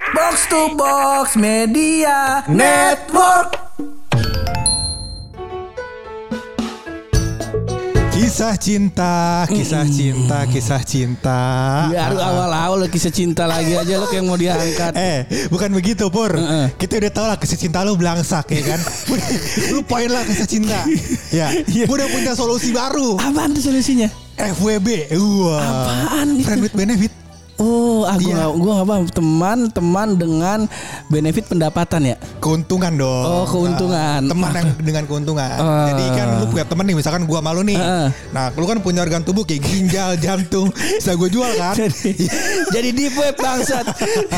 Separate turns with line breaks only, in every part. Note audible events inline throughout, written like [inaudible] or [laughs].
Box to Box Media Network.
Kisah cinta, kisah cinta, kisah cinta.
Biar Ya, awal-awal lagi secinta lagi aja lo yang mau diangkat.
Ah. [laughs] Eh, bukan begitu Pur.
Heeh.
Kita udah tau lah kisah cinta lu belangsak ya
[laughs]
kan. lu poin lah kisah cinta. ya,
Iya.
gua udah punya solusi baru.
Apaan tuh solusinya?
FWB. Wah.
Apaan gitu?
Friend with benefit.
Oh, aku
Iya.
gak, gua gak paham. Teman-teman dengan benefit pendapatan ya.
Keuntungan dong.
Oh, keuntungan.
Ah, teman yang dengan keuntungan.
Ah.
Jadi kan lu punya teman nih, misalkan gua malu nih.
Ah.
Nah, lu kan punya organ tubuh kayak ginjal, jantung, bisa gua jual kan?
Jadi, jadi deep web bangsat.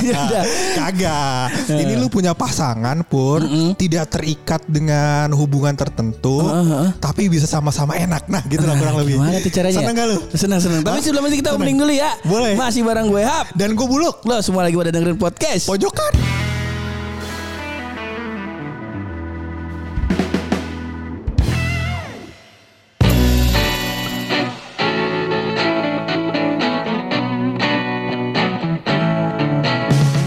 Ya udah.
Ah, Kagak.
Eh.
Ini lu punya pasangan pun tidak terikat dengan hubungan tertentu,
Ah,
tapi bisa sama-sama enak. Nah, gitu lah kurang lebih.
Gimana tuh caranya?
Seneng gak lu?
Senang senang. Tapi
Hah?
sebelum itu kita opening dulu ya.
Boleh.
Masih bareng gue hap.
Dan gue buluk
Lo semua lagi pada dengerin podcast.
pojokan.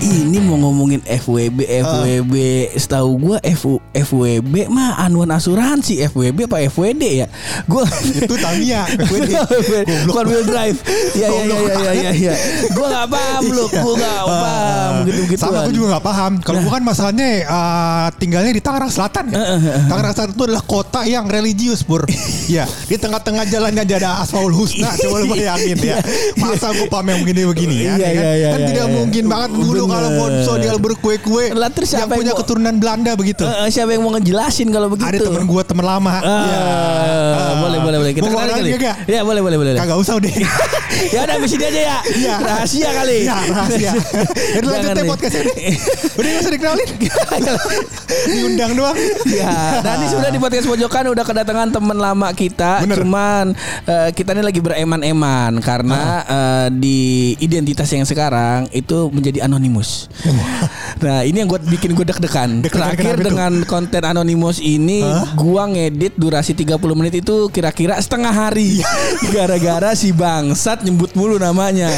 Ini mau ngomongin FWB,
Ah.
FWB. Setahu gua FU, FWB mah anuan asuransi FWB apa FWD ya? Gua
[laughs] Itu Tamiya. Gue di-
[laughs] Bukan
Goblok.
wheel drive. Ya ya ya
Goblok
ya ya
iya.
ya. [laughs] Gua enggak paham lu, gua enggak paham Iya. gitu-gitu.
Ah, Sama aku juga gak paham Kalau bukan masalahnya eh, Tinggalnya di Tangerang Selatan
Eh,
ya Tangerang Selatan itu adalah kota yang religius
[laughs]
Pur Ya Di tengah-tengah jalannya aja ada Asmaul Husna Coba lu bayangin ya Masa gue paham yang begini-begini ya,
Iya,
kan?
iya, iya,
Kan
iya,
tidak
iya.
mungkin banget dulu
Bener.
Kalau Bonso dia berkue-kue
Lah, terus
Yang
siapa yang
punya
mau-
keturunan Belanda begitu
Eh, eh, siapa yang mau ngejelasin kalau begitu?
Ada temen gue temen lama
Ah,
Ya. Ah.
boleh boleh boleh kita
Mau
kenalin
ngomongin
kali.
juga?
Ya boleh boleh boleh.
Kagak usah udah
[laughs] ya udah habis ini aja ya.
Iya.
iya, Rahasia kali.
Ya rahasia
[laughs]
Jadi lanjut
Jangan
deh
deh.
podcastnya deh.
[laughs]
Udah gak usah dikenalin [laughs] Diundang doang
Ya, nanti sudah di podcast pojokan udah kedatangan teman lama kita.
Bener.
Cuman eh, kita ini lagi bereman-eman karena eh,
Ah.
di identitas yang sekarang itu menjadi anonimus. [laughs] nah, ini yang gue bikin gue deg-degan.
Iya. Deg-degan
Terakhir
kenapa itu?
dengan konten anonimus ini gua ngedit durasi 30 menit itu kira-kira setengah hari.
Iya.
[laughs] Gara-gara si bangsat nyebut mulu
[laughs]
namanya.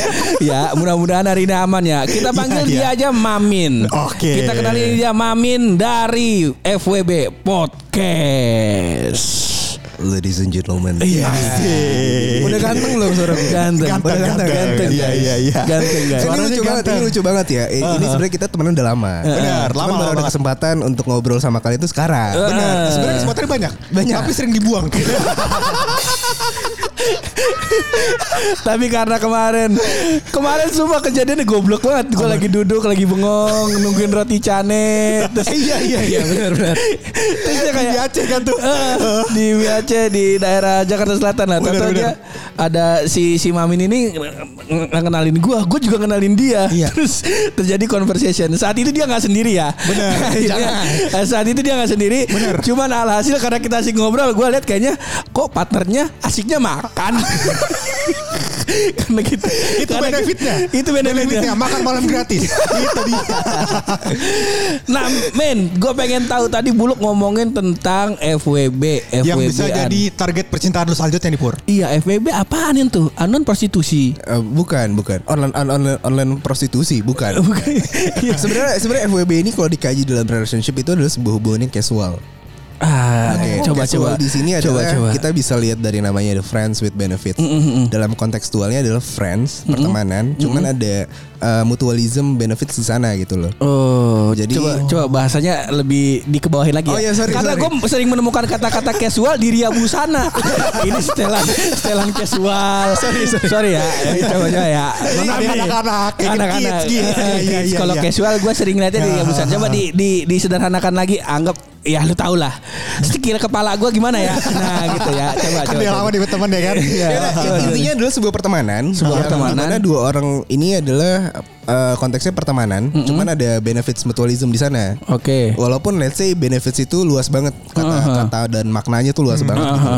ya, mudah-mudahan hari ini aman ya. Kita panggil
Iya, iya.
dia aja Mamin.
Oke.
Kita kenalin dia Mamin dari FWB Podcast.
Ladies and gentlemen. Nah,
Iya.
Asik.
Udah
kan?
ganteng belum suara gue?
Ganteng.
Eh. Ganteng,
Udah
ganteng,
ganteng.
Iya, iya, iya.
Ganteng, guys.
Ini
Suaranya
lucu banget,
ganteng.
ini lucu banget ya. Eh, Ini sebenarnya kita temenan udah lama.
Benar, lama,
Cuman baru
lama
ada
banget.
kesempatan untuk ngobrol sama kalian itu sekarang.
Benar. Sebenarnya kesempatannya banyak,
Banyak.
Tapi sering dibuang.
Tapi karena kemarin kemarin semua kejadiannya goblok banget. Gue lagi duduk, lagi bengong, nungguin roti cane. Terus
iya iya iya benar benar.
terus dia kayak
Di Aceh kan tuh.
Eh, di WAC di daerah Jakarta Selatan lah.
Bener,
Tahu
bener.
dia ada si si Mamin ini nge- nge- kenalin gua, gua juga kenalin dia.
Iya.
Terus terjadi conversation. Saat itu dia nggak sendiri ya.
Bener.
Akhirnya, eh, Saat itu dia nggak sendiri.
Bener.
Cuman alhasil karena kita asik ngobrol, gua lihat kayaknya kok partnernya asiknya makan. karena gitu.
Itu
Karena-
benefitnya.
Itu benefitnya.
makan malam gratis. Itu dia.
Nah, men, gue pengen tahu tadi Buluk ngomongin tentang FWB, FWB
Yang bisa jadi target percintaan lu selanjutnya nih Pur.
Iya FWB apaan itu? Anon prostitusi.
Eh, bukan, bukan. Online on- online online prostitusi, bukan.
Bukan. Iya.
sebenarnya sebenarnya FWB ini kalau dikaji dalam relationship itu adalah sebuah hubungan yang casual.
ah,
Oke,
coba coba
casual di sini
coba coba.
adalah kita bisa lihat dari namanya the friends with benefits. Dalam kontekstualnya adalah friends, pertemanan, cuman ada eh, mutualism benefits di sana gitu loh.
Oh, jadi
Jadi-
coba, coba bahasanya lebih dikebawahin lagi.
Oh,
ya
iya, sorry,
Karena
sorry.
gue sering menemukan kata-kata casual di Ria Busana. Ini setelan setelan casual. Sorry, sorry, ya. Eh, Coba coba ya.
Jadi
Maaf ya.
anak-anak, kayak
anak-anak.
kids gitu.
Eh,
Iya, iya,
kids. Kalau
iya.
casual gue sering ngeliatnya di Ria Busana. Coba di, di disederhanakan lagi. Anggap ya lu tau lah. Sekira kepala gue gimana ya? Nah gitu ya. Coba
Kan
coba.
dia
coba.
lama di teman ya kan.
Ya,
Iya.
nah, intinya adalah sebuah pertemanan.
Sebuah
Yang
pertemanan.
dimana dua orang ini adalah eh, konteksnya pertemanan, cuman ada benefits mutualism di sana.
Oke.
Walaupun let's say benefits itu luas banget kata
Mm-hmm.
kata dan maknanya tuh luas banget gitu.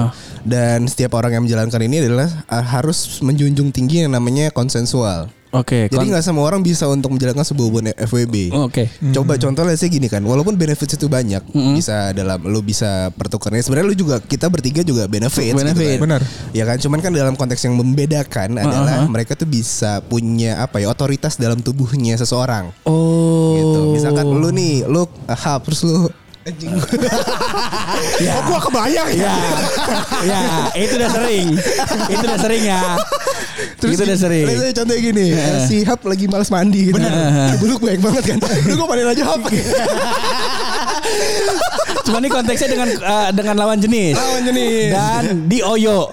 Dan setiap orang yang menjalankan ini adalah eh, harus menjunjung tinggi yang namanya konsensual.
Oke.
Jadi
kon-
nggak semua orang bisa untuk menjalankan sebuah hubungan FWB.
Oh, Oke. Hmm.
Coba contohnya sih gini kan, walaupun benefits itu banyak, bisa dalam lu bisa pertukarnya. Sebenarnya lu juga kita bertiga juga benefits.
Benefit. Uh-huh.
Benar.
kan. Ya kan, cuman kan dalam konteks yang membedakan adalah mereka tuh bisa punya apa ya otoritas dalam tubuhnya seseorang.
Oh,
Misalkan lu nih, lu eh, hap terus lu [laughs] anjing.
Oh gua kebayang
Ya, ya itu udah sering, itu udah sering ya,
Terus
itu Gitu udah
gini-
sering. Uh-huh.
Lihat aja contohnya gini, si Hap lagi malas mandi gitu. Benar. Dulu banyak banget
[laughs]
kan. Lu gua panen aja Hap.
Cuma ini konteksnya dengan eh, dengan lawan jenis.
Lawan jenis.
Dan di Oyo.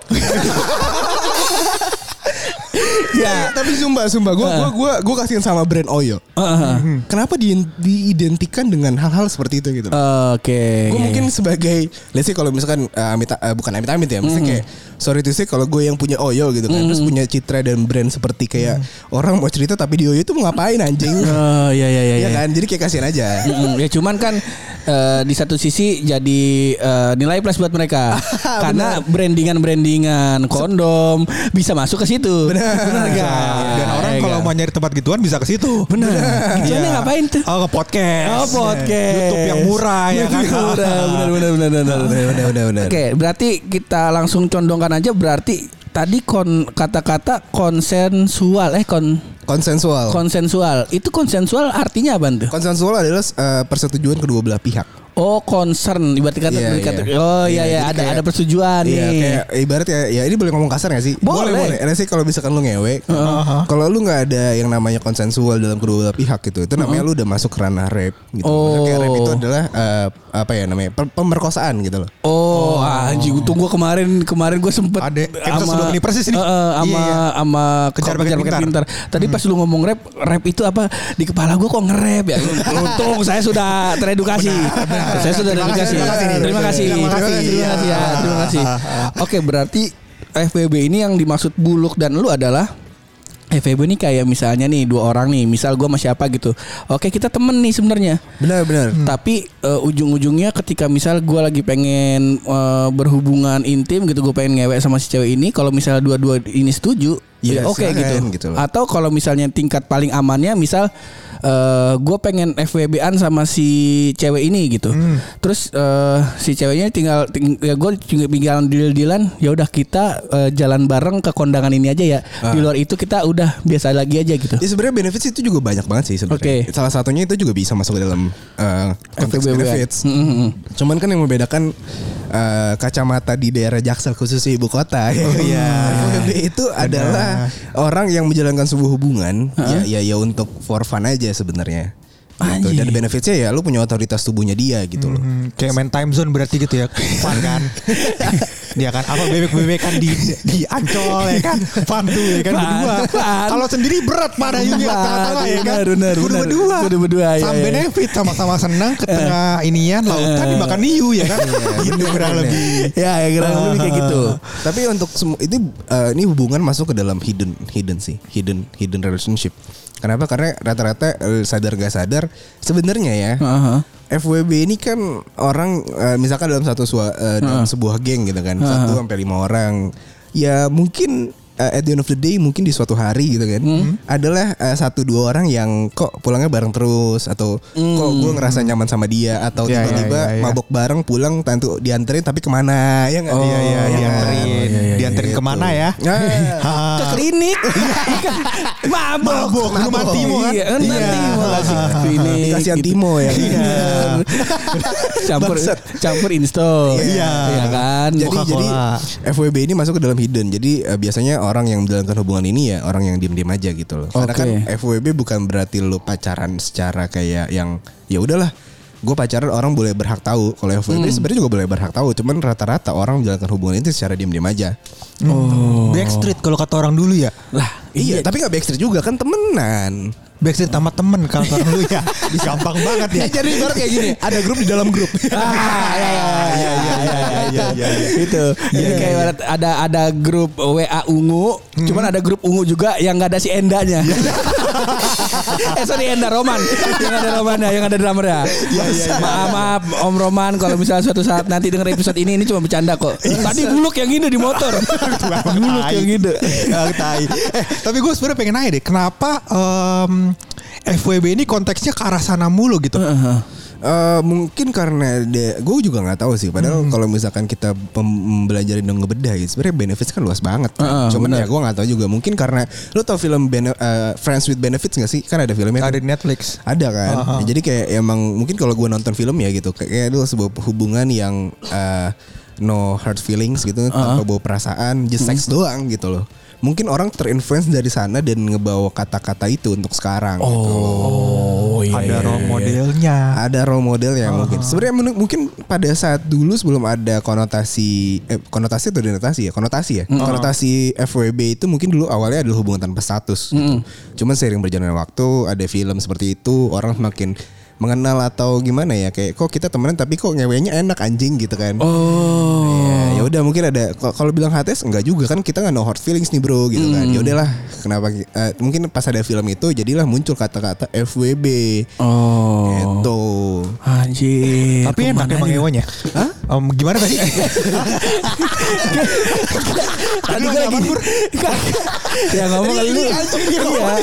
ya.
Iya, Tapi sumpah, sumpah gua
Ah.
gua gua gua kasihan sama brand Oyo.
Heeh.
Kenapa di, diidentikan dengan hal-hal seperti
Oh,
itu gitu?
Oke. Ya,
gue mungkin sebagai let's say kalau misalkan eh, amit eh, bukan amit-amit ya
Hmm.
maksudnya kayak sorry to say kalau gue yang punya Oyo gitu kan terus punya citra dan brand seperti kayak orang mau cerita tapi di Oyo itu mau ngapain anjing
Hmm. [laughs] Oh ya ya ya.
Iya
ya.
ya kan jadi kayak kasihan aja
Mm-mm. Ya cuman kan eh, di satu sisi jadi eh, nilai plus buat
[laughs]
mereka karena brandingan-brandingan kondom bisa masuk ke situ. Ya,
Benar.
Iya,
Dan orang kalau mau nyari tempat gituan bisa ke situ.
benar. Gituannya
Iya.
ngapain tuh?
Oh, ke podcast.
Oh, podcast.
YouTube yang murah ya kan.
Murah, benar benar benar benar.
Udah, udah udah udah
Oke, berarti kita langsung condongkan aja berarti tadi kon kata-kata konsensual eh kon
konsensual
konsensual. Itu konsensual artinya apa tuh?
konsensual adalah eh, persetujuan kedua belah pihak
Oh, concern ibarat kata
Iya,
kata-
iya.
Oh iya
Iya,
iya
jadi
ada
kayak-
ada persetujuan
Iya,
nih.
kayak ibarat ya, ya ini boleh ngomong kasar gak sih?
Boleh.
boleh. Enak sih kalau misalkan lu ngewe, kalau lu nggak ada yang namanya konsensual dalam kedua belah pihak gitu, itu namanya lu udah masuk ke ranah rape gitu. Maksudnya Kayak
Oh.
rape itu adalah eh, apa ya namanya per- pemerkosaan gitu loh.
Oh, anjing untung gua kemarin kemarin gua sempet
Ada episode
ama-
sebelum ini persis nih.
Eh, eh, ama
Iya, iya.
ama kok-
Kejar pakai pintar. Hmm.
Tadi pas lu ngomong rap, rap itu apa? Di kepala gua kok nge-rap ya. Untung saya sudah teredukasi. Saya sudah
Terima
teredukasi.
kasih, terima kasih.
Terima kasih.
Terima
Terima kasih.
kasih.
Terima kasih ya. Terima kasih. Oke, berarti FBB ini yang dimaksud Buluk dan lu adalah FEB ini kayak misalnya nih dua orang nih, misal gua sama siapa gitu. Oke, kita temen nih sebenarnya.
Benar-benar.
Tapi eh, ujung-ujungnya ketika misal gue lagi pengen eh, berhubungan intim gitu, gue pengen ngewek sama si cewek ini. Kalau misalnya dua-dua ini setuju, ya
Iya,
oke
silakan,
gitu.
gitu loh.
Atau kalau misalnya tingkat paling amannya, misal gue pengen FWB-an sama si cewek ini gitu. Terus eh, si ceweknya tinggal, ting- ya gue tinggal deal-dealan. Ya udah kita eh, jalan bareng ke kondangan ini aja ya. Di luar itu kita udah biasa lagi aja gitu.
Ya sebenarnya benefits itu juga banyak banget sih sebenarnya.
Oke.
Salah satunya itu juga bisa masuk ke dalam eh, konteks
FWB.
benefits. Cuman kan yang membedakan eh, kacamata di daerah Jaksel khususnya ibu kota. [laughs] Iya. FWB itu adalah orang yang menjalankan sebuah hubungan ya, ya ya untuk for fun aja sebenarnya. Gitu.
Iya.
Dan benefitsnya ya lu punya otoritas tubuhnya dia gitu loh.
Hmm, kayak main time zone berarti gitu ya fun [laughs] kan Iya kan apa bebek-bebek kan di di ancol ya kan fun tuh ya kan
Fun,
berdua
fun.
kalau sendiri berat pada Yunya
Benar,
tengah-tengah ya kan
benar, benar,
Kudu
benar.
berdua iya, Eh.
Kudu berdua, ya,
Sama
ya.
benefit sama-sama senang ke tengah inian lautan dimakan hiu ya kan gitu kurang lebih
[laughs] Ya, ya kurang lebih
[laughs]
kayak gitu.
Tapi untuk semua ini eh, ini hubungan masuk ke dalam hidden hidden sih, hidden hidden relationship. Kenapa? Karena rata-rata eh, sadar gak sadar sebenarnya ya.
Aha.
FWB ini kan orang eh, misalkan dalam satu sua- eh, dalam sebuah geng gitu kan, satu sampai lima orang. Ya mungkin eh, at the end of the day mungkin di suatu hari gitu kan
Hmm.
adalah eh, satu dua orang yang kok pulangnya bareng terus atau kok gue ngerasa nyaman sama dia atau
Hmm. Ya, ya,
tiba-tiba
ya, ya.
mabok bareng pulang tentu dianterin tapi kemana ya nggak?
Iya iya dianterin dianterin
Gitu.
kemana ya
Nah,
ke
[laughs]
klinik mabok
Mabok, minum antimo kan?
iya kan
Iya.
antimo kasih ke klinik
dikasih
gitu.
antimo ya.
Iya. campur
Bangsat.
campur install
Iya.
iya kan
Jadi jadi
Coca-Cola.
FWB ini masuk ke dalam hidden. Jadi eh, biasanya orang yang menjalankan hubungan ini ya orang yang diem-diem aja gitu loh. Karena
Oke.
kan FWB bukan berarti lu pacaran secara kayak yang ya udahlah. Gue pacaran orang boleh berhak tahu. Kalau FWB sebenarnya juga boleh berhak tahu. Cuman rata-rata orang menjalankan hubungan itu secara diem-diem aja.
Oh. backstreet kalau kata orang dulu ya
lah
Iya, tapi nggak backstreet juga kan temenan.
backstreet sama temen kalau kata orang dulu ya [laughs] gampang banget ya
Iya, Jadi ibarat kayak gini, ada grup di dalam grup.
Ah, ya, ya, ya, ya, ya, ya, ya,
Iya,
ya. [laughs] itu jadi kayak ibarat ada ada grup WA ungu
Hmm.
cuman ada grup ungu juga yang nggak ada si
[laughs]
endanya [laughs] eh sorry enda Roman yang ada Romannya yang ada drummernya
Iya,
maaf maaf Om Roman kalau misalnya suatu saat nanti denger episode ini ini cuma bercanda kok
Iya,
tadi buluk yang ini di
[laughs]
motor buluk
tai.
yang ini
[laughs] Ah, tai. Eh, tapi gue sebenarnya pengen nanya deh, kenapa em, FWB ini konteksnya ke arah sana mulu gitu?
Eh, mungkin karena gue juga nggak tahu sih padahal kalau misalkan kita pem- mempelajari dan ngebedah ya sebenarnya benefits kan luas banget
Heeh,
cuman ya gue nggak tahu juga mungkin karena lu tau film Bene- eh, Friends with Benefits nggak sih kan ada filmnya
Ada di
tuh.
Netflix.
ada kan
Aha.
Ya, jadi kayak emang mungkin kalau gue nonton film ya gitu kayak- kayak itu sebuah hubungan yang eh, no hard feelings gitu tanpa bawa perasaan just sex doang gitu loh mungkin orang terinfluence dari sana dan ngebawa kata-kata itu untuk sekarang gitu loh
Oh iya.
Ada
iya,
role
iya.
modelnya.
ada role model yang mungkin sebenarnya menu- mungkin pada saat dulu sebelum ada konotasi eh, konotasi atau denotasi ya konotasi ya konotasi FWB itu mungkin dulu awalnya adalah hubungan tanpa status gitu. cuman sering berjalannya waktu ada film seperti itu orang semakin mengenal atau gimana ya kayak kok kita temenan tapi kok ngewenya enak anjing gitu kan
Oh.
Ya, ya udah mungkin ada kalau- kalau bilang HTS enggak juga kan kita nggak no hard feelings nih bro gitu
Mm.
kan. Ya udahlah kenapa ki- eh, mungkin pas ada film itu jadilah muncul kata-kata FWB.
Oh.
Gitu.
Anjir.
Tapi enak
kemana
emang ya,
nih?
hewanya. Hah? gimana tadi?
Tadi gue lagi [laughs] Ya ngomong
Ini-
lu
ini anjing di
Iya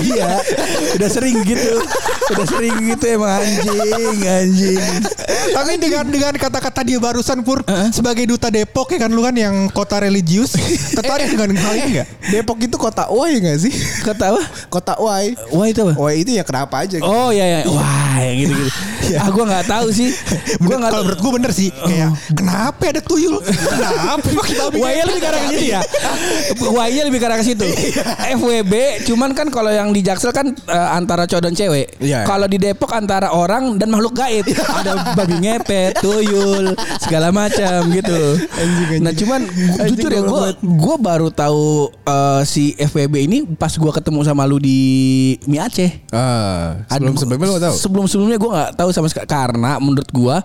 Iya Udah sering gitu Udah sering gitu emang anjing Anjing
Tapi dengan dengan kata-kata dia barusan pur sebagai duta Depok ya kan lu kan yang kota religius tertarik dengan hal ini nggak?
Depok itu kota Y gak sih?
Kata apa?
Kota Y.
Wah itu apa?
Y itu ya kenapa aja gitu.
Oh iya iya Wah yang gitu-gitu Ah gue gak tahu sih Gue
Bener,
gak
kalau
tahu
menurut gue bener sih kayak kenapa ada tuyul? kenapa pakai babi?
Waya lebih ke arah ke [laughs] situ ya. Iya. Waya lebih ke arah ke situ. FWB cuman kan kalau yang di Jaksel kan eh, antara cowok dan cewek.
Iya.
Kalau di Depok antara orang dan makhluk gaib. Ada babi ngepet, tuyul, segala macam gitu. Nah, cuman gu-
Anjing,
jujur ya
goblok
gua
banget.
gua baru tahu eh, si FWB ini pas gua ketemu sama lu di Mi Aceh.
Ah,
Ada-
sebelum sebelumnya lo tau?
Sebelum sebelumnya gue nggak tahu sama sekali karena menurut gue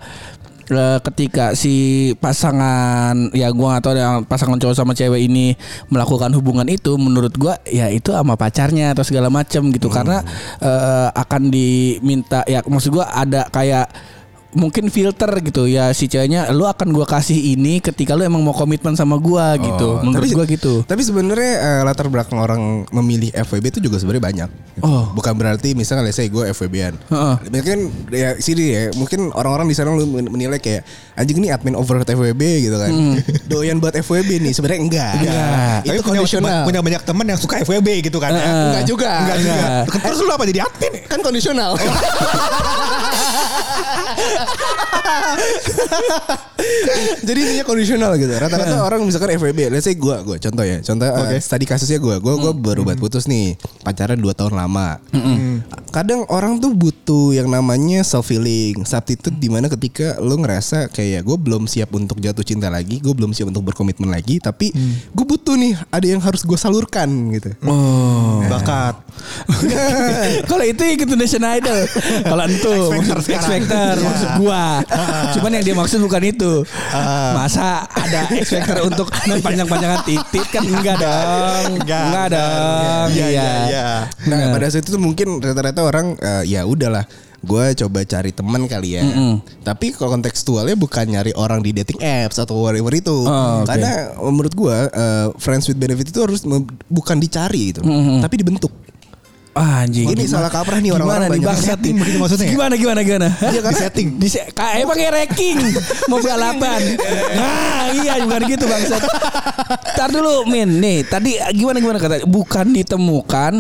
ketika si pasangan ya gue nggak tahu yang pasangan cowok sama cewek ini melakukan hubungan itu menurut gue ya itu sama pacarnya atau segala macam gitu
Hmm.
karena eh, akan diminta ya maksud gue ada kayak mungkin filter gitu ya si ceweknya lu akan gua kasih ini ketika lu emang mau komitmen sama gua gitu
Oh,
menurut
tapi-
gua gitu
Tapi sebenarnya eh, latar belakang orang memilih FWB itu juga sebenarnya banyak.
Oh.
Bukan berarti misalnya let's say gue FWB-an.
Heeh.
Mungkin ya sini ya, mungkin orang-orang di sana lu men- menilai kayak anjing ini admin over FWB gitu kan. [laughs] Doyan buat FWB nih, sebenarnya enggak.
Enggak.
Itu
Nah, Tapi punya,
kondisional.
punya banyak teman yang suka FWB gitu kan. ya.
Heeh.
Enggak juga.
Enggak juga.
Enggak.
Terus lu apa jadi admin?
Kan kondisional. Jadi intinya kondisional gitu. Rata-rata orang misalkan FWB, let's say gue, gue contoh ya, contoh eh, tadi kasusnya gue, gue gue baru buat putus nih, pacaran 2 tahun lama. Hmm. Kadang orang tuh butuh yang namanya self healing, substitute dimana ketika lo ngerasa kayak gue belum siap untuk jatuh cinta lagi, gue belum siap untuk berkomitmen lagi, tapi gue butuh nih ada yang harus gue salurkan gitu.
Bakat.
[laughs] Kalau itu ikut Indonesian Idol. Kalau itu
X-Factor
maksud-
sekarang.
X-Factor
Iya.
maksud gua. Cuman yang dia maksud bukan itu. Masa ada X Factor untuk panjang-panjangan titik kan enggak dong.
Enggak,
Enggak
enggak,
dong.
iya,
Iya.
iya, iya.
Nah pada saat itu tuh mungkin rata-rata orang eh, ya udahlah gue coba cari teman kali ya. Tapi kalau kontekstualnya bukan nyari orang di dating apps atau whatever itu.
Oh, oke.
Karena menurut gue eh, friends with benefit itu harus mem- bukan dicari gitu,
Mm-hmm.
tapi
[laughs]
dibentuk.
Ah, anjing.
Ini
Gimana-
salah kaprah nih
Gimana
orang-orang
nih
banyak.
bangsat
Setting
nih?
begitu maksudnya ya?
Gimana gimana gimana? Hah?
Iya, karena-
setting.
Di se- ka- emang kayak ranking mau balapan. Nah, iya bukan gitu bangsat. Tar dulu Min. Nih, tadi gimana gimana kata bukan ditemukan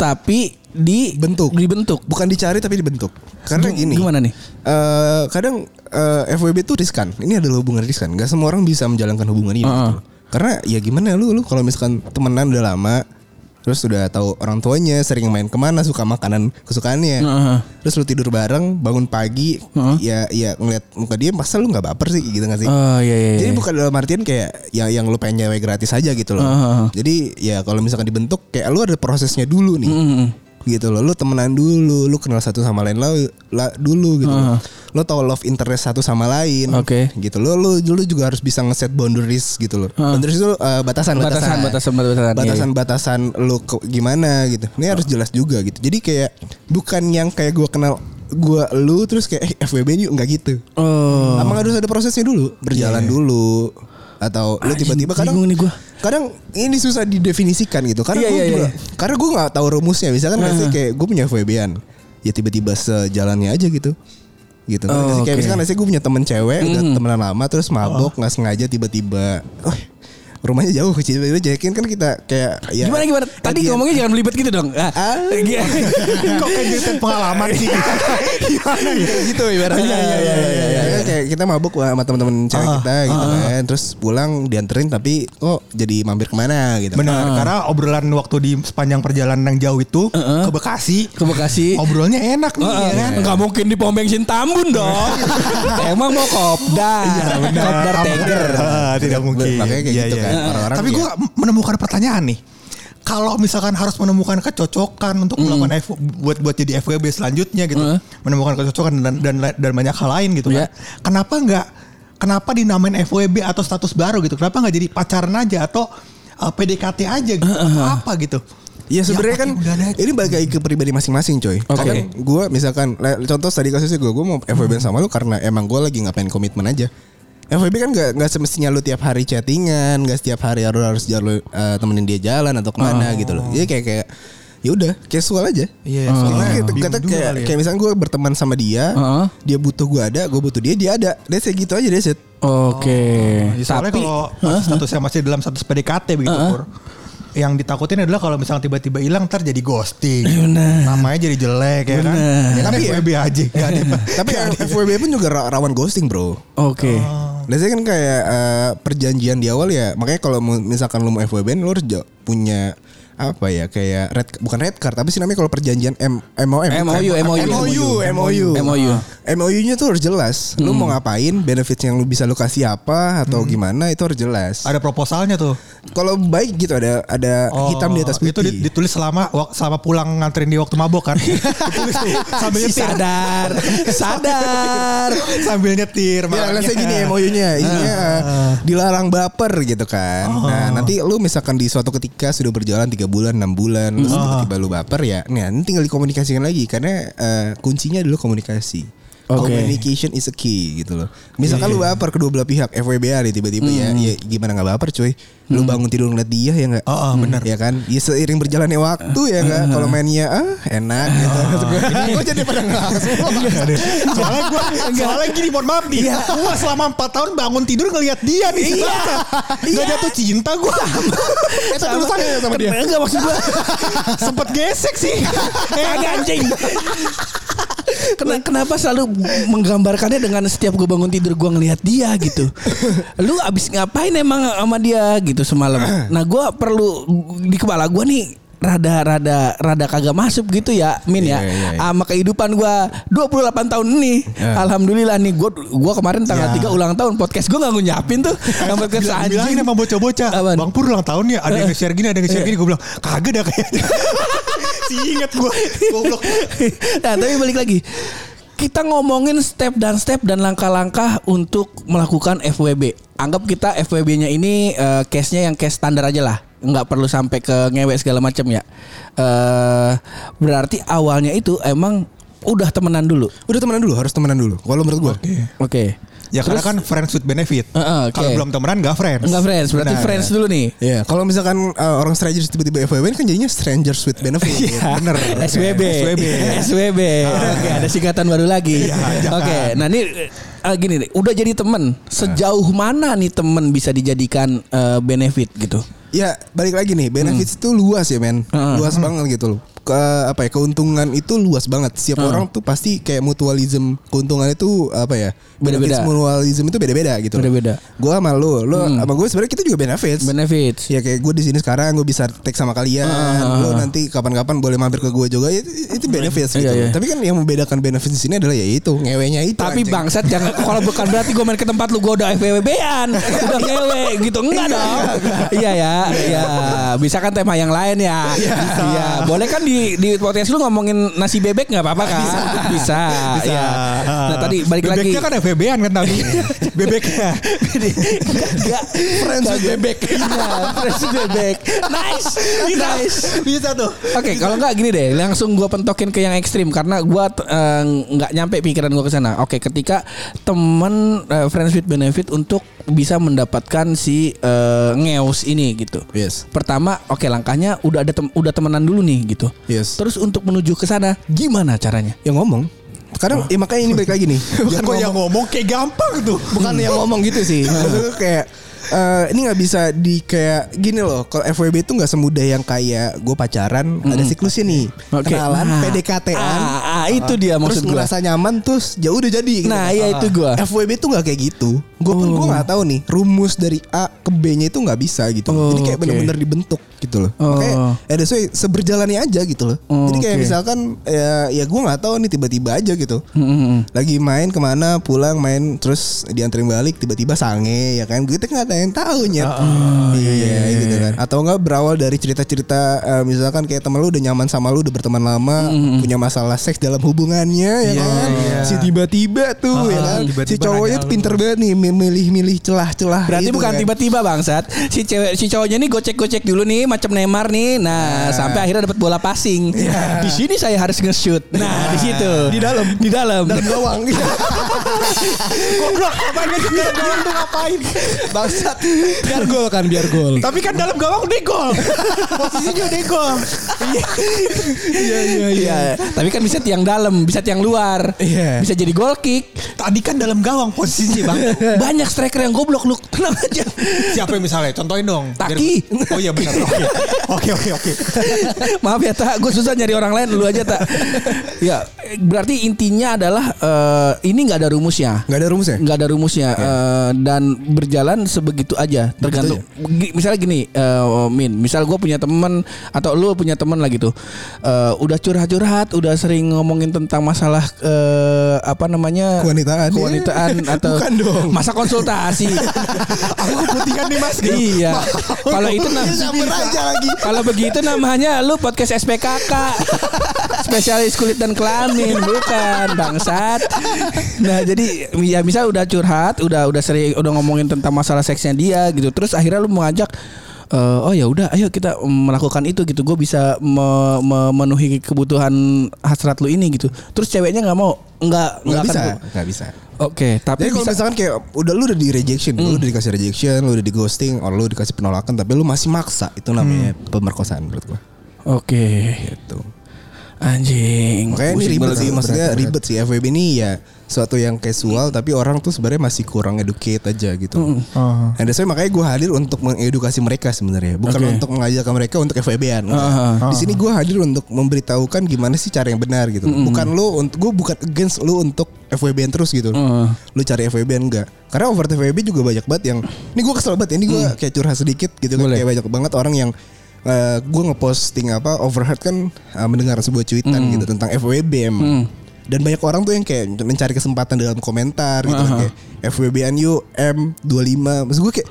tapi di
Bentuk.
dibentuk.
Bukan dicari tapi dibentuk. Karena
Gim-
gini.
gimana nih?
eh, kadang eh, FWB itu riskan. Ini adalah hubungan riskan. Gak semua orang bisa menjalankan hubungan ini.
Heeh.
gitu. Karena ya gimana lu lu kalau misalkan temenan udah lama, terus udah tahu orang tuanya, sering main kemana, suka makanan kesukaannya,
Heeh.
terus lu tidur bareng, bangun pagi, ya ya ngeliat muka dia, masa lu nggak baper sih gitu gak sih?
Oh iya iya.
Jadi
iya.
bukan dalam artian kayak yang yang lu pengen nyewe gratis aja gitu loh.
Heeh.
Jadi ya kalau misalkan dibentuk kayak lu ada prosesnya dulu nih. Gitu loh, lu temenan dulu, lu kenal satu sama lain lah la- dulu gitu. loh. Lu tahu love interest satu sama lain.
Oke.
Gitu loh, lu dulu juga harus bisa ngeset boundaries gitu loh. Boundaries itu eh,
Batasan,
batasan-batasan.
batasan, batasan, iya.
Batasan-batasan lu ke- gimana gitu. Ini harus jelas juga gitu. Jadi kayak bukan yang kayak gua kenal gua lu terus kayak eh, FWB yuk nggak gitu.
Oh.
Emang harus ada prosesnya dulu, berjalan dulu atau lu
Iya. Anjing,
tiba-tiba kadang
bingung nih gua.
kadang ini susah didefinisikan gitu karena
Iya,
gua
iya,
juga-
iya. Nah.
karena gue nggak tahu rumusnya misalkan nanti kayak gue punya FWB-an ya tiba-tiba sejalannya aja gitu gitu kan.
Oh, oke.
kayak
Oh.
misalkan sih gue punya temen cewek udah temenan lama terus mabok nggak sengaja tiba-tiba oh, rumahnya jauh tiba-tiba jakin kan kita kayak ya
Gimana gimana? Tadi
latihan.
ngomongnya jangan melibet gitu dong. Ah,
Ah.
iya.
Kok kayak cerita pengalaman sih? Iya. Gimana ya?
Kayak gitu ibaratnya.
Iya, iya, iya, iya, iya. Ah,
Ibaratnya Kayak kita mabuk sama teman-teman cewek kita gitu kan. Terus pulang dianterin tapi kok jadi mampir kemana gitu.
Benar, Nah, karena obrolan waktu di sepanjang perjalanan yang jauh itu ke Bekasi,
Ke Bekasi.
obrollnya enak nih ya kan.
Enggak mungkin di pom bensin Tambun dong. Emang mau kopdar. Kopdar
Nah,
Tiger.
ah, tidak mungkin.
Makanya kayak
Iya,
gitu
iya.
kan. Orang-orang
Tapi
ya-
gue menemukan pertanyaan nih. Kalau misalkan harus menemukan kecocokan untuk
Hmm.
melakukan F- buat buat jadi FWB selanjutnya gitu,
Mm.
menemukan kecocokan dan dan dan banyak hal lain gitu
Iya.
kan. Kenapa nggak kenapa dinamain FWB atau status baru gitu? Kenapa nggak jadi pacaran aja atau uh, PDKT aja gitu atau apa gitu?
Ya sebenarnya
apa
kan
sih udah ada?
ini balik lagi ke pribadi masing-masing coy. Kadang gue misalkan le- contoh tadi kasusnya gue gue mau FWB
Mm-hmm.
sama lu karena emang gue lagi ngapain komitmen aja. FWB kan gak, nggak semestinya lu tiap hari chattingan, gak setiap hari harus harus jalan eh, temenin dia jalan atau kemana gitu loh. Jadi kayak kayak ya udah casual
Oh.
aja.
Iya,
Jadi
soalnya
kayak-
bingung
kata-
juga
kayak,
kali ya.
kayak misalnya gue berteman sama dia,
Heeh.
dia butuh gue ada, gue butuh dia, dia ada. Dia kayak gitu aja deh set.
Oke.
Ya, soalnya
Tapi
kalau masih statusnya masih dalam status PDKT begitu Pur. Yang ditakutin adalah kalau misalnya tiba-tiba hilang ntar jadi ghosting. Namanya jadi jelek ya kan. Ya kan
Tapi-
FWB aja. [laughs] Gak ada.
[laughs] Tapi FWB pun juga ra- rawan ghosting bro.
Oke.
Biasanya kan kayak eh, perjanjian di awal ya. Makanya kalau mu- misalkan lu mau FWB lu harus jo- punya apa ya kayak red bukan red card tapi sih namanya kalau perjanjian M MOM
MOU, MOU.
MOU MOU
MOU.
MOU-nya tuh harus jelas.
Hmm.
Lu mau ngapain, benefit yang lu bisa lu kasih apa atau gimana itu harus jelas.
Ada proposalnya tuh.
Kalau baik gitu ada ada hitam di atas
Oh, itu
putih.
di- ditulis selama wak- selama pulang nganterin dia waktu mabok kan. [laughs] ditulis tuh sambil
Si [laughs]
nyetir.
sadar, sadar.
sambil nyetir.
Ya,
makanya.
lesnya gini MOU-nya isinya eh, dilarang baper gitu kan. Nah, nanti lu misalkan di suatu ketika sudah berjalan 3 bulan, 6 bulan terus tiba-tiba lu baper ya. Nah, ini tinggal dikomunikasikan lagi karena eh, kuncinya dulu komunikasi.
Oke.
Communication is a key gitu loh. Misalkan lu baper kedua belah pihak FWB nih tiba-tiba ya, ya gimana nggak baper cuy. Lu bangun tidur ngeliat dia ya nggak?
Oh, oh, benar.
Ya kan? Ya seiring berjalannya waktu ya nggak? Kalau mainnya ah enak gitu. Kok jadi pada nggak
soalnya gue soalnya gini mohon maaf nih gua selama 4 tahun bangun tidur ngelihat dia nih iya, gak jatuh cinta gue [laughs] itu tulisannya sama dia
Enggak maksud [laughs] gua.
sempet gesek sih
Kagak anjing. Eh. Kena- kenapa selalu menggambarkannya dengan setiap gue bangun tidur gue ngelihat dia gitu. Lu abis ngapain emang sama dia gitu semalam. Nah gue perlu di kepala gue nih rada rada rada kagak masuk gitu ya Min ya
Iya, iya, iya.
sama kehidupan gua 28 tahun ini
Ya.
alhamdulillah nih gua gua kemarin tanggal 3 ulang tahun podcast gua nggak ngunyapin tuh yang podcast
bilangin
anjing
sama bocah-bocah
Apaan?
Bang Pur ulang tahun ya Ada yang nge-share gini Ada yang nge-share gini Gue bilang Kagak dah
[laughs]
kayaknya Si inget gue Goblok
[laughs] nah tapi balik lagi kita ngomongin step dan step dan langkah-langkah untuk melakukan FWB. Anggap kita FWB-nya ini eh, case-nya yang case standar aja lah, nggak perlu sampai ke ngewe segala macam ya. eh berarti awalnya itu emang udah temenan dulu.
Udah temenan dulu, harus temenan dulu. Kalau menurut gua.
Oke.
Ya karena kan friends with benefit
Heeh, oke.
Kalau belum temenan gak friends
Enggak friends, berarti
Benar.
friends dulu nih.
Iya, kalau misalkan uh, orang strangers tiba-tiba FWB kan jadinya strangers with benefit.
Iya.
Bener.
SWB.
SWB.
SWB. Oke, ada singkatan baru lagi.
jangan.
Oke, nah ini eh, gini nih, udah jadi temen Sejauh mana nih temen bisa dijadikan eh, benefit gitu?
Ya, balik lagi nih, benefits itu luas ya, men.
Hmm.
Luas banget gitu loh. Ke apa ya? Keuntungan itu luas banget. Setiap orang tuh pasti kayak mutualism. Keuntungan itu apa ya?
Beda-beda.
benefits Mutualism itu beda-beda gitu. loh.
Beda-beda. Hmm.
Gua sama lu, lu sama gue sebenarnya kita juga benefits.
Benefits.
Ya kayak gue di sini sekarang gue bisa tag sama kalian. Lo nanti kapan-kapan boleh mampir ke gue juga. Itu, itu benefits gitu.
Iya, iya.
Tapi kan yang membedakan benefits di sini adalah ya itu ngewenya itu.
Tapi
anjing.
bangsat [laughs] jangan kalau bukan berarti gue main ke tempat lu gue udah FWB-an, udah ngewe gitu. Enggak dong. Iya ya, iya. Bisa kan tema yang lain ya. Iya, boleh kan di di podcast lu ngomongin nasi bebek nggak apa-apa kan? Bisa. Bisa.
Bisa.
Nah, tadi balik lagi. Iya.
Bebeknya kan FBB-an kan tadi [laughs] Bebeknya Ya,
Enggak Friends with bebek Iya Friends with bebek Nice Nice
Bisa tuh
Oke kalau nggak gini deh Langsung gua pentokin ke yang ekstrim Karena gua t- eh, nggak nyampe pikiran gua ke sana Oke ketika Temen eh, Friends with benefit Untuk bisa mendapatkan si eh, Ngeus ini gitu
Yes.
Pertama oke langkahnya Udah ada tem- udah temenan dulu nih gitu
Yes.
Terus untuk menuju ke sana Gimana caranya
Ya ngomong. Kadang ya makanya ini balik lagi
[laughs]
nih.
Ya
Bukan
kok yang
ngomong,
ngomong kayak gampang tuh.
bukan yang ngomong gitu
[laughs]
sih. Maksud gue kayak eh, ini nggak bisa di kayak gini loh. Kalau FWB itu nggak semudah yang kayak gue pacaran ada siklusnya nih.
Oke.
Kenalan,
Nah.
PDKT-an.
Ah, ah, itu dia
terus
maksud gue.
ngerasa nyaman terus ya udah jadi gitu.
Nah, iya itu gua.
FWB tuh nggak kayak gitu. Gue pun
Oh.
gue nggak tahu nih rumus dari A ke B-nya itu nggak bisa gitu.
Oh,
Jadi kayak
oke.
bener-bener dibentuk gitu loh.
Oh.
Makanya ya that's why seberjalannya aja gitu loh.
Oh,
Jadi kayak
oke.
misalkan ya, ya gue nggak tahu nih tiba-tiba aja gitu. Lagi main kemana pulang main terus dianterin balik tiba-tiba sange ya kan. Kita nggak ada yang tahu nyet. iya, gitu kan. Atau enggak berawal dari cerita-cerita eh, misalkan kayak temen lu udah nyaman sama lu udah berteman lama punya masalah seks dalam hubungannya ya kan. Si tiba-tiba tuh ya
Ah,
kan. si
tiba-tiba
cowoknya
nanya
tuh
lu.
pinter banget nih milih-milih celah-celah.
Berarti
gitu
bukan
kan. [laughs]
tiba-tiba bangsat. Si cewek si cowoknya nih gocek-gocek dulu nih macam Neymar nih. Nah, sampai akhirnya dapat bola passing. Di sini saya harus nge-shoot. Nah, di situ. Di dalam. Di dalam.
dalam gawang. Goblok, apaan dia di dalam gawang tuh ngapain? Bangsat.
biar gol kan biar gol
Tapi kan dalam gawang udah gol. Posisinya udah gol.
Iya, iya, iya. Tapi kan bisa tiang dalam, bisa tiang luar.
Iya.
Bisa jadi goal kick.
Tadi kan dalam gawang posisinya bang.
Banyak striker yang goblok lu. Tenang aja.
Siapa yang misalnya? Contohin dong. Biar-
Taki.
Oh iya benar.
[laughs]
Oke. Oke oke oke.
Maaf ya tak, gue susah nyari orang lain lu aja tak. Ya, berarti intinya adalah eh, ini nggak ada rumusnya.
Gak ada rumusnya?
nggak ada rumusnya eh, dan berjalan sebegitu aja tergantung Gi- misalnya gini eh, min misal gue punya teman atau lu punya teman lah gitu Eh, udah curhat-curhat udah sering ngomongin tentang masalah eh, apa namanya
Kewanitaan. [laughs] Iya.
kewanitaan atau
Bukan dong.
masa konsultasi
Aku keputihan nih mas.
iya [laughs] kalau
[laughs]
itu nah,
Dia nyamper aja lagi.
kalau begitu namanya lu podcast SPKK spesialis kulit dan kelamin bukan bangsat nah jadi ya misal udah curhat udah udah sering udah ngomongin tentang masalah seksnya dia gitu terus akhirnya lu mengajak eh, oh ya udah ayo kita melakukan itu gitu gue bisa me- memenuhi kebutuhan hasrat lu ini gitu terus ceweknya nggak mau nggak
Gak
akan
bisa.
gu-
Gak bisa.
oke tapi
Jadi kalau
bisa Hmm.
misalkan kayak udah lu udah di rejection, lu udah dikasih rejection, lu udah di ghosting, or lu dikasih penolakan, tapi lu masih maksa,
Hmm.
itu namanya pemerkosaan menurut gua.
oke
Gitu.
anjing
Makanya ini
Pusing
ribet
banget
sih,
gua.
maksudnya ribet sih FWB ini ya suatu yang casual, tapi orang tuh sebenarnya masih kurang educate aja gitu.
Hmm. Oh.
Ah.
And that's why makanya gue hadir untuk mengedukasi mereka sebenarnya, bukan
Oke.
untuk mengajak mereka untuk FWB-an.
Aha.
Di sini gue hadir untuk memberitahukan gimana sih cara yang benar gitu. Bukan lu untuk gue bukan against lu untuk FWB-an terus gitu. Lu cari FWB-an enggak? Karena over FWB juga banyak banget yang ini gue kesel banget, ya, ini gue kayak curhat sedikit gitu kan kayak banyak banget orang yang eh, gue ngeposting apa overheard kan eh, mendengar sebuah cuitan gitu tentang FWB emang. Dan banyak orang tuh yang kayak mencari kesempatan dalam komentar gitu kan, kayak FWB-an yuk M25. Maksud gue kayak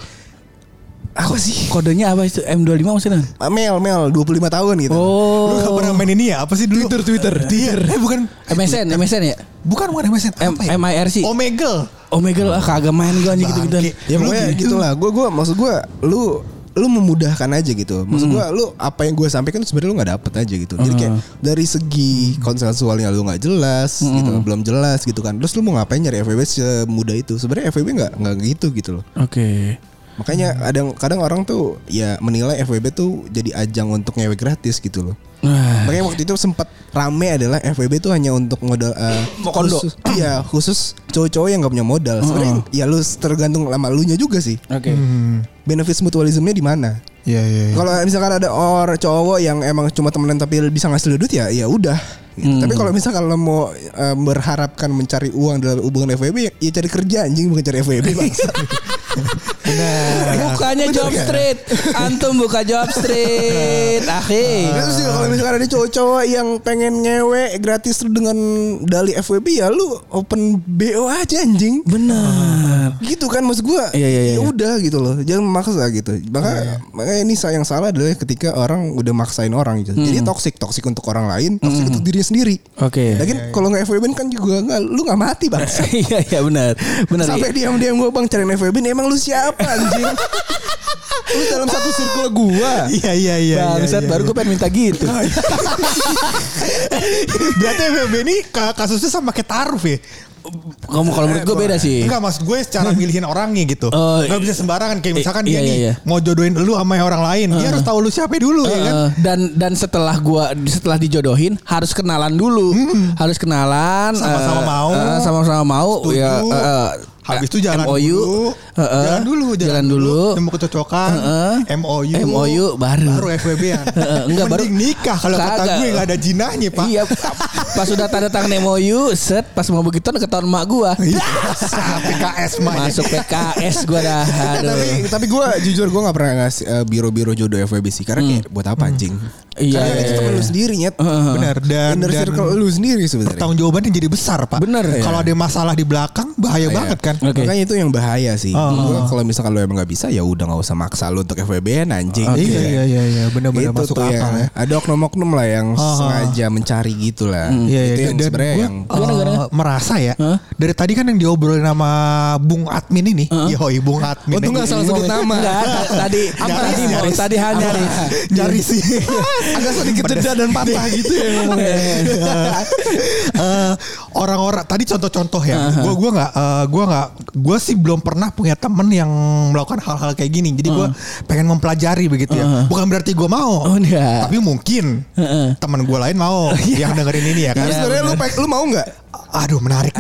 apa sih? Ah,
kodenya apa itu M25 maksudnya
Mel, Mel, 25 tahun gitu.
Oh.
Lu gak pernah main ini ya? Apa sih dulu? Twitter, Twitter. Twitter. Eh bukan.
MSN, MSN ya?
Bukan bukan MSN.
M-
Apa ya?
MIRC.
Omega.
Omega lah Ah, kagak main gua anjing gitu-gitu.
Bangke.
Ya
Lu
pokoknya
gitu.
gitu lah. Gue gue maksud gue lu lu memudahkan aja gitu. Maksud
Hmm.
gue lu apa yang gue sampaikan sebenarnya lu nggak dapet aja gitu. Jadi kayak dari
Hmm.
segi konsensualnya lu nggak jelas gitu, belum jelas gitu kan. Terus lu mau ngapain nyari FWB semudah itu? Sebenarnya FWB nggak nggak gitu gitu loh.
Oke.
Makanya
Hmm.
kadang kadang orang tuh ya menilai FWB tuh jadi ajang untuk ngewe gratis gitu loh.
Nah,
Makanya waktu itu sempat rame adalah FWB itu hanya untuk modal eh, khusus, iya khusus cowok-cowok yang nggak punya modal. Sebenarnya ya lu tergantung sama lu nya juga sih.
Oke.
Benefits mutualismnya di mana?
Hmm, Iya iya. iya.
Kalau misalkan ada orang cowok yang emang cuma temenan tapi bisa ngasih duit ya ya udah. Gitu. Tapi kalau misalkan lo mau eh, berharapkan mencari uang dalam hubungan FWB ya, ya cari kerja anjing bukan cari FWB bangsa.
Bukanya job street. Antum buka job
[laughs]
street. Akhir.
Terus juga Gitu kalau misalkan ada cowok-cowok yang pengen ngewe gratis dengan dali FWB ya lu open BO aja anjing.
Benar.
Gitu kan maksud gua.
Iya, iya, iya.
Ya udah gitu loh. Jangan memaksa gitu. Maka makanya ini sa- yang salah adalah ketika orang udah maksain orang gitu. Jadi toksik, toksik untuk orang lain, toksik untuk dirinya sendiri.
Hmm. Oke.
Lagi
Iya,
kalau nggak FWB kan juga nggak lu nggak mati,
[laughs]
Bang.
[laughs] Iya iya benar. Benar.
Sampai diam-diam gua Bang cariin FWB emang lu siapa anjing?
[laughs]
lu dalam satu circle gua.
[laughs] Iya iya iya.
Bangsat
[laughs]
baru gue pengen minta gitu.
Berarti FWB ini ka- kasusnya sama kayak taruh ya.
Kamu kalau menurut gue beda sih.
Enggak maksud gue
[laughs]
secara milihin orangnya gitu.
Oh,
Enggak bisa sembarangan kayak misalkan
iya,
dia
iya,
nih
iya.
mau jodohin lu sama orang lain, dia harus tahu lu siapa dulu ya kan.
Heeh, dan dan setelah gua setelah dijodohin harus kenalan dulu harus kenalan
Hmm. Sama-sama
eh,
mau.
eh, sama-sama mau
Setuju.
ya eh, eh,
Habis itu jalan
MOU,
dulu.
eh, eh,
jalan dulu,
jalan dulu.
Nemu kecocokan.
Heeh.
MOU.
MOU baru.
Baru FWB-an.
Heeh, enggak, baru-
Mending nikah kalau kata
Kagak.
gue enggak ada jinahnya, Pak.
Iya, pas sudah tanda tangan MOU, set pas mau begitu ketahuan mak gua.
Iya. Sah, PKS mah.
Masuk PKS gua dah.
tapi
Aduh.
tapi gue jujur gue nggak pernah ngasih eh, biro-biro jodoh FWB sih karena kayak buat apa anjing?
Hmm. Iya,
Karena
iya,
itu temen lu sendiri nyet.
Benar dan
Inner
dan
circle lu sendiri sebenarnya.
tanggung jawabannya jadi besar, Pak.
Bener, ya.
Kalau ada masalah di belakang bahaya banget kan.
Oke.
Makanya itu yang bahaya sih.
Oh.
Gua kalau misalkan lu emang nggak bisa ya udah nggak usah maksa lu untuk FWB anjing.
Iya iya iya iya benar-benar
Itu
masuk
tuh
akal ya. Ah,
ya. Ada oknum-oknum lah yang sengaja mencari gitu lah.
Iya, iya.
Itu yang
Dan
sebenarnya
gua,
yang
eh, merasa ya dari tadi kan yang diobrolin sama Bung Admin ini, yoi Bung Admin.
Untung nggak salah sebut nama.
Enggak, ta- iya. tadi tadi mau
nyaris.
tadi hanya
[laughs] Jari sih agak sedikit jeda dan [laughs] patah gitu ya ngomongnya. Eh, Orang-orang tadi contoh-contoh ya. Gue gua nggak eh, gua nggak gue sih belum pernah punya temen yang melakukan hal-hal kayak gini. Jadi gue pengen mempelajari begitu ya. Bukan berarti gue mau.
Oh, enggak.
Tapi mungkin
Heeh. Iya.
temen gue lain
[laughs]
mau yang dengerin ini ya kan.
Tapi sebenarnya lu, pe- lu mau nggak?
Aduh
[laughs]
menarik.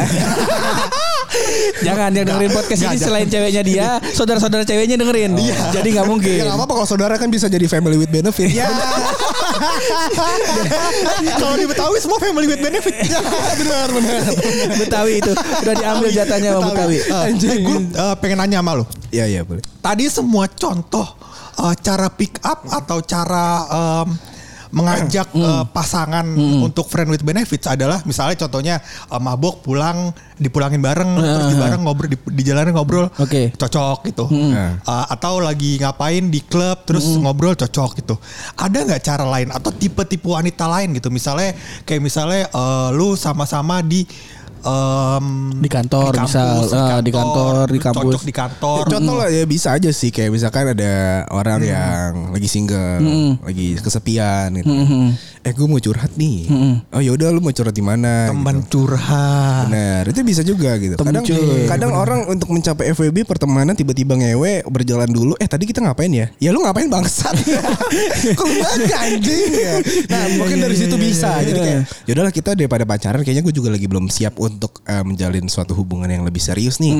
Jangan yang dengerin podcast
Nggak,
ini
jangan.
selain ceweknya dia, saudara-saudara ceweknya dengerin. Jadi nggak mungkin.
Iya.
Ya Iya. nggak apa-apa kalau saudara kan bisa jadi family with benefit. Ya.
Kalau di Betawi semua family with benefit. benar benar.
Betawi itu udah diambil jatahnya sama Betawi.
Ah. Eh,
Anjing. Gue eh, pengen nanya sama lu.
[laughs] Iya iya boleh.
Tadi semua contoh eh, cara pick up atau cara em, mengajak
Hmm.
eh, pasangan untuk friend with benefits adalah misalnya contohnya eh, mabok pulang dipulangin bareng terus di bareng ngobrol di, di jalanan ngobrol
Oke. Hmm.
cocok gitu Eh, atau lagi ngapain di klub terus ngobrol cocok gitu ada nggak cara lain atau tipe-tipe wanita lain gitu misalnya kayak misalnya eh, lu sama-sama di em,
Di kantor, misal. Ah, di kantor, di
lu
kampus. Hmm.
cocok di kantor
Ya, contoh lah ya bisa aja sih kayak misalkan ada orang
Iya.
yang lagi single, lagi kesepian gitu. Eh gue mau curhat nih. Oh yaudah lu mau curhat di mana?
teman
Gitu.
curhat
Benar, itu bisa juga gitu. Kadang kadang orang untuk mencapai FWB pertemanan tiba-tiba ngewe berjalan dulu. Eh tadi kita ngapain ya? Ya lu ngapain bangsat? [laughs] Kok lu nanya, anjing ya? Nah, mungkin dari situ bisa. Jadi kayak yaudahlah iya. Ya kita daripada pacaran kayaknya gue juga lagi belum siap untuk eh, menjalin suatu hubungan yang lebih serius nih.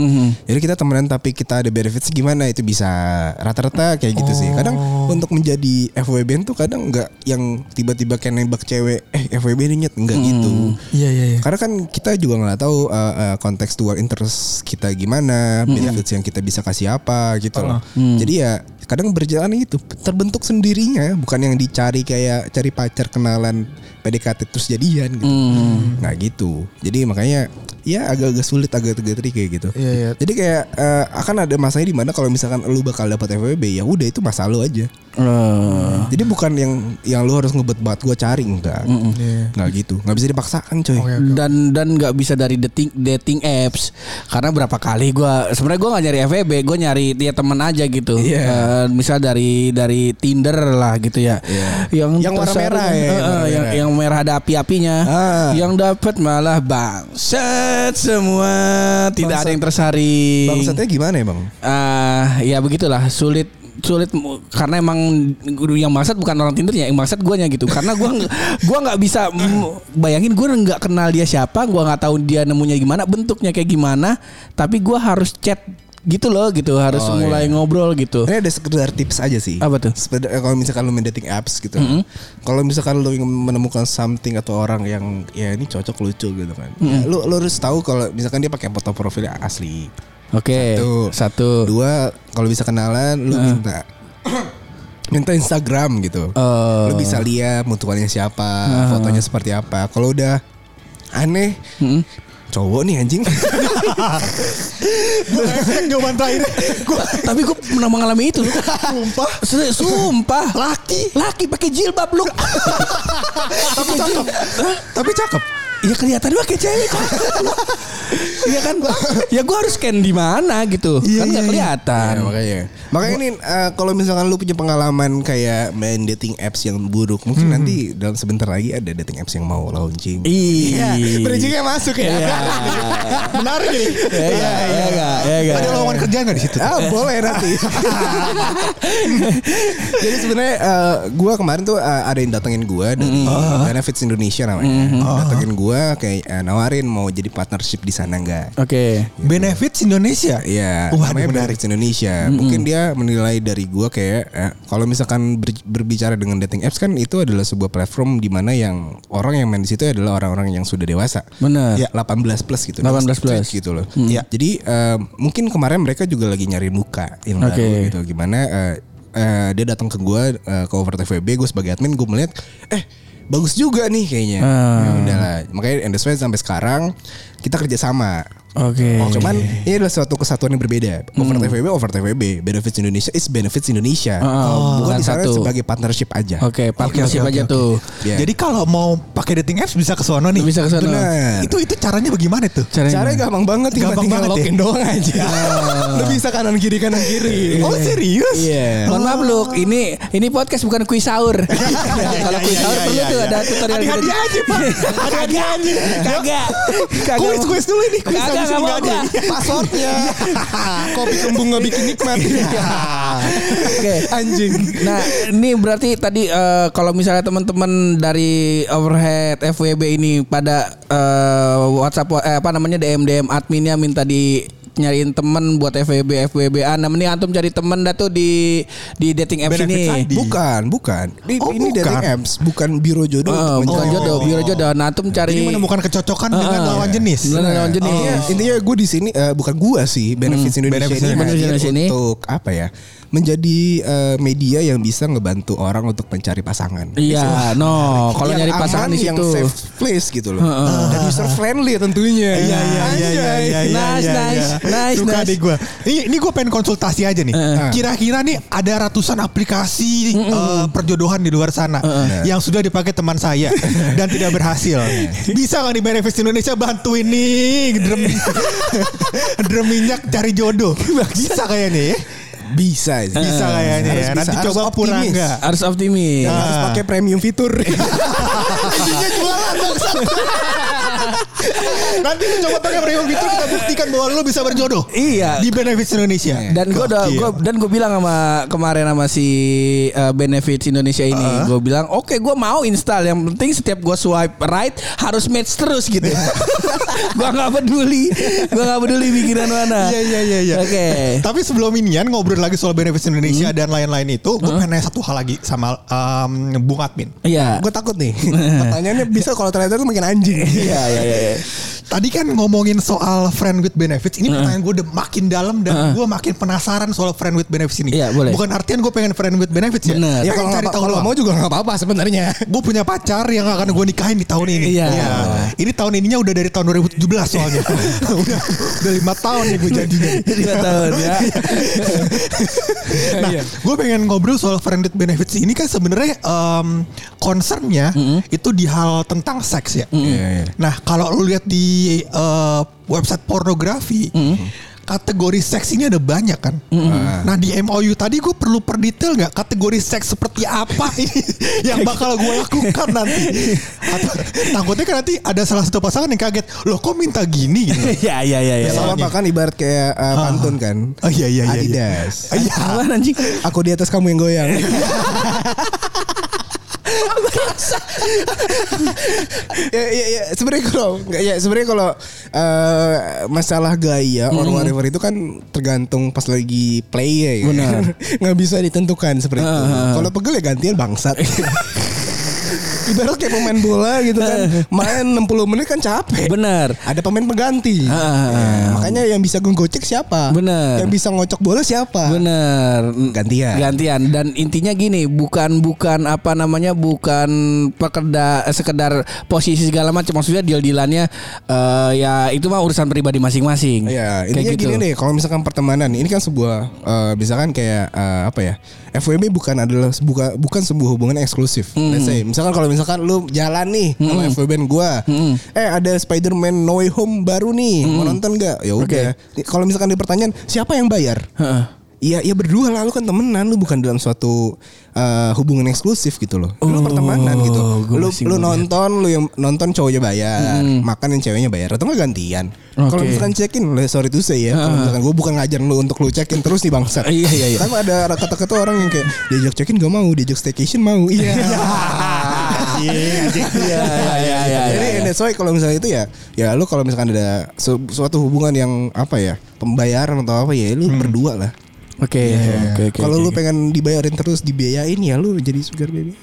Jadi kita temenan tapi kita ada benefits gimana itu bisa rata-rata kayak gitu sih. Kadang untuk menjadi FWB tuh kadang nggak yang tiba-tiba kayak nembak cewek, eh FWB nih nyet enggak gitu.
Iya iya iya.
Karena kan kita juga nggak tahu uh, uh, kontekstual interest kita gimana, benefits yang kita bisa kasih apa gitu
Ah,
loh.
mm.
Jadi ya kadang berjalan itu terbentuk sendirinya, bukan yang dicari kayak cari pacar kenalan PDKT terus jadian gitu.
Mm.
Nah gitu. Jadi makanya ya agak-agak sulit agak-agak tricky gitu.
Iya, iya.
Jadi kayak uh, akan ada masanya di mana kalau misalkan lu bakal dapat FWB ya udah itu masa lu aja.
Ah.
Jadi bukan yang yang lu harus ngebet banget gua cari enggak. Enggak
Iya.
gitu. Nggak bisa dipaksakan coy.
dan dan nggak bisa dari dating dating apps karena berapa kali gua sebenarnya gua nggak nyari FWB gua nyari dia temen aja gitu
Iya.
Eh, misal dari dari Tinder lah gitu ya yang
Iya. Yang warna
tersaring-
merah
Eh, eh,
ya, yang warna
yang
merah.
yang merah ada api-apinya
Ah.
yang dapat malah bangset semua tidak ada yang tersaring
Bangsatnya gimana ya bang?
Ah, ya begitulah sulit sulit mu- karena emang yang maksud bukan orang Tindernya yang maksud guanya gitu karena gua nge- [laughs] gua nggak bisa m- bayangin gua nggak kenal dia siapa gua nggak tahu dia nemunya gimana bentuknya kayak gimana tapi gua harus chat gitu loh gitu harus
Oh,
mulai ngobrol gitu
Ini ada sekedar tips aja sih.
Apa tuh? Mm-hmm.
Sepeda- eh, kalau misalkan lu main dating apps gitu. Kalau misalkan lu ingin menemukan something atau orang yang ya ini cocok lucu gitu kan.
Mm-hmm.
Ya, lu lu harus tahu kalau misalkan dia pakai foto profil yang asli.
oke
Tuh.
satu
Dua, kalau bisa kenalan lu
Mm-hmm.
minta [coughs] minta Instagram
Oh.
gitu.
Eh,
Lu bisa lihat mutualnya siapa,
Mm-hmm.
fotonya seperti apa. Kalau udah aneh,
Mm-hmm.
cowok nih
[laughs]
anjing.
Kan jawaban terakhir.
Gua- [laughs] tapi gua pernah mengalami itu loh.
Sumpah.
Serius, sumpah laki laki pakai jilbab lu [laughs]
Tapi cakep. Tapi cakep.
ya kelihatan lu kayak cewek
[laughs]
cakep lu. Iya kan? Ya gua harus scan di mana gitu. kan nggak kelihatan.
Iya, makanya. Makanya ini eh, kalau misalkan lu punya pengalaman kayak main dating apps yang buruk, mungkin nanti dalam sebentar lagi ada dating apps yang mau launching. Iya.
Iya.
Bridgingnya masuk ya. Menarik ini.
Iya, iya, iya, nggak, iya, nggak.
Ada lowongan kerjaan nggak di situ?
Ah boleh nanti. [laughs] Jadi sebenarnya eh, gua kemarin tuh eh, ada yang datengin gua dari Benefits Indonesia namanya. Datengin gua kayak eh, nawarin mau jadi partnership di sana enggak?
Oke.
Benefits Indonesia.
Iya,
Wah,
namanya
menarik.
Benefits Indonesia. Mungkin dia menilai dari gua kayak eh, kalau misalkan ber- berbicara dengan dating apps kan itu adalah sebuah platform di mana yang orang yang main di situ adalah orang-orang yang sudah dewasa.
Bener.
Ya, 18 plus gitu.
18
Straight
plus. Mm.
gitu loh. Iya. Jadi eh, mungkin kemarin mereka juga lagi nyari muka yang baru
Oke.
gitu. Gimana eh, eh, dia datang ke gua eh, ke Over TVB, gue sebagai admin gue melihat eh bagus juga nih kayaknya.
Ah.
Ya udahlah. Makanya and that's why sampai sekarang kita kerjasama
Oke.
Oh, cuman ini adalah suatu kesatuan yang berbeda. Over TVB, over TVB, benefits Indonesia is benefits Indonesia.
Oh, bukan
bukan di sana
satu.
sebagai partnership aja.
Oke, partnership
oke,
aja
oke,
tuh.
Iya.
Jadi kalau mau pakai dating apps bisa ke sono nih.
Bisa ke sono.
Benar.
Itu itu caranya bagaimana tuh?
Caranya.
Caranya gampang banget tinggal
Gampang
tinggal
banget ya?
login doang aja. [laughs] Lu bisa kanan kiri kanan kiri.
Oh, serius?
Iya. Mohon maaf Luk, ini ini podcast bukan kuis
[laughs]
sahur. Kalau kuis sahur
iya,
perlu
iya,
tuh
iya.
ada tutorial.
Ada hadiah aja,
[laughs]
Pak.
Ada hadiah aja. Kagak. Kagak.
Kuis kuis dulu ini kuis
Kagak, nggak
habis ini
mau
nggak ada.
gua.
[laughs] Passwordnya.
Kopi kembung nggak bikin nikmat.
Iya.
Oke.
Anjing.
Nah, ini berarti tadi eh, kalau misalnya teman-teman dari Overhead FWB ini pada eh, WhatsApp eh, apa namanya DM DM adminnya minta di nyariin temen buat FWB FWB an nah ini antum cari temen dah tuh di di dating apps
Benefits
ini
ID.
Bukan, bukan. Ini,
Oh, bukan.
ini dating apps, bukan biro jodoh.
Eh,
untuk
bukan
mencari-
jodoh biro jodoh nah antum cari
Jadi menemukan kecocokan dengan
Ah,
lawan
iya.
jenis.
Dengan lawan jenis.
Intinya, intinya gue di sini eh, bukan gue sih benefits Indonesia
Benefits
Indonesia.
ini hadir
Oh. Benefits Indonesia ini.
untuk apa ya menjadi eh, media yang bisa ngebantu orang untuk mencari pasangan. Gitu.
Iya, no. Kalau
Yang
nyari pasangan
aman,
di
yang
situ.
safe place gitu loh. Dan user friendly ya tentunya.
Iya iya iya iya
Anjay.
iya iya,
Nice,
iya,
nice,
iya.
nice,
Suka
nice. Eh.
deh gue Ini, ini gue pengen konsultasi aja nih Kira-kira nih ada ratusan aplikasi eh, perjodohan di luar sana
Eh.
Yang sudah dipakai teman
[laughs]
saya Dan tidak berhasil Bisa gak di Benefits Indonesia bantuin nih Drem,
[laughs]
drem minyak cari jodoh Bisa kayaknya ya
Bisa sih.
Bisa kayaknya
Harus
ya
bisa,
Nanti
harus
coba pura
optimis.
enggak
Harus optimis.
Yang harus pakai premium fitur.
Isinya jualan bangsa. Nanti lu coba pakai premium fitur kita buktikan bahwa lu bisa berjodoh.
Iya.
Di benefits Indonesia.
Dan gue udah
Eh, Gokil.
gua- dan gue bilang sama kemarin sama si uh, Benefits Indonesia ini, gue bilang oke gue mau install yang penting setiap gue swipe right harus match terus
[laughs]
gitu. gue nggak peduli, gue nggak peduli pikiran mana.
Iya iya iya iya.
Oke. Hmm.
Tapi sebelum inian ngobrol lagi soal benefits Indonesia dan lain-lain itu, gue pengen nanya satu hal lagi sama em, Bung Admin.
Iya. Hmm.
gue takut nih. Pertanyaannya bisa kalau ternyata tuh makin anjing.
Iya iya iya.
Tadi kan ngomongin soal friend with benefits, ini
Hmm.
pertanyaan gue makin dalam dan gue makin penasaran soal friend with benefits ini.
Iya, boleh.
Bukan artian gue pengen friend with benefits ya.
Bener.
Ya
Ya kalau
kalau cari
nggak-
tahu
kalau
doang. Iya,
nggak mau juga nggak apa-apa sebenarnya.
gue punya pacar yang akan gue nikahin di tahun ini.
Iya.
Ini tahun ininya udah dari tahun 2017
[laughs]
soalnya. udah udah lima tahun nih gue jadinya.
Lima
[laughs]
tahun ya.
Nah, gue pengen ngobrol soal friended benefits ini kan sebenarnya em concernnya itu di hal tentang seks ya.
Iya, iya.
Nah, kalau lu lihat di eh, website pornografi. Kategori seks ini ada banyak kan. Nah di MOU tadi gue perlu perdetail nggak kategori seks seperti apa [laughs] ini yang bakal gue lakukan nanti. Atau, takutnya kan nanti ada salah satu pasangan yang kaget, loh kok minta gini gitu.
[laughs]
Iya iya iya. iya.
Sama bahkan ibarat kayak uh, pantun kan.
Oh iya iya iya. iya.
Adidas.
Iya.
Apaan, anjing?
Aku di atas kamu yang goyang.
[laughs]
ya, ya, ya. sebenarnya kalau nggak ya sebenarnya kalau eh, masalah gaya
Mm-hmm.
or whatever itu kan tergantung pas lagi play ya, ya.
Benar.
[laughs]
Ah,
nggak bisa ditentukan seperti itu kalau pegel ya gantian bangsat [laughs] ibarat kayak pemain bola gitu kan main 60 menit kan capek
Bener.
ada pemain pengganti
Ah, ah,
Ya, makanya yang bisa gocek siapa
Benar.
yang bisa ngocok bola siapa
Bener.
Eh.
Gantian.
Gantian. Dan intinya gini, bukan bukan apa namanya, bukan pekerda eh, sekedar posisi segala macam. Maksudnya deal-dealannya eh, ya itu mah urusan pribadi masing-masing.
Iya,
Ya,
Kayak
intinya
gitu.
gini deh, kalau misalkan pertemanan, ini kan sebuah eh,
Hmm.
misalkan kayak eh, apa ya? FWB bukan adalah sebuka- bukan sebuah hubungan eksklusif. Let's say, misalkan kalau misalkan lu jalan nih sama FB band gua.
Hmm.
Eh ada Spider-Man No Way Home baru nih. Mau nonton gak? Ya udah. Kalau misalkan dipertanyaan siapa yang bayar?
[laughs]
Heeh.
Iya, ya berdua lah lu kan temenan, lu bukan dalam suatu eh, hubungan eksklusif gitu loh. Lu pertemanan gitu.
Oh, gua
Lu
masih ngeliat.
lu nonton, lu yang nonton cowoknya bayar, makan yang ceweknya bayar atau enggak gantian. Kalau
Oke. Ah.
misalkan check-in, lah, sorry tuh saya ya, kalau misalkan gua bukan ngajarin lu untuk lu check-in terus nih bangsat.
[laughs] Iya, iya, iya.
Kan ada kata-kata orang yang kayak diajak check-in gak mau, diajak staycation
[laughs]
mau. Iya.
Iya, iya, iya, iya,
Jadi
iya.
and that's why kalau misalnya itu ya ya lu kalau misalkan ada su- suatu hubungan yang apa ya, pembayaran atau apa ya lu
Hmm.
berdua lah.
Oke,
Iya,
oke, oke.
Kalau
oke.
lu pengen dibayarin terus dibiayain ya lu jadi
[laughs]
sugar baby.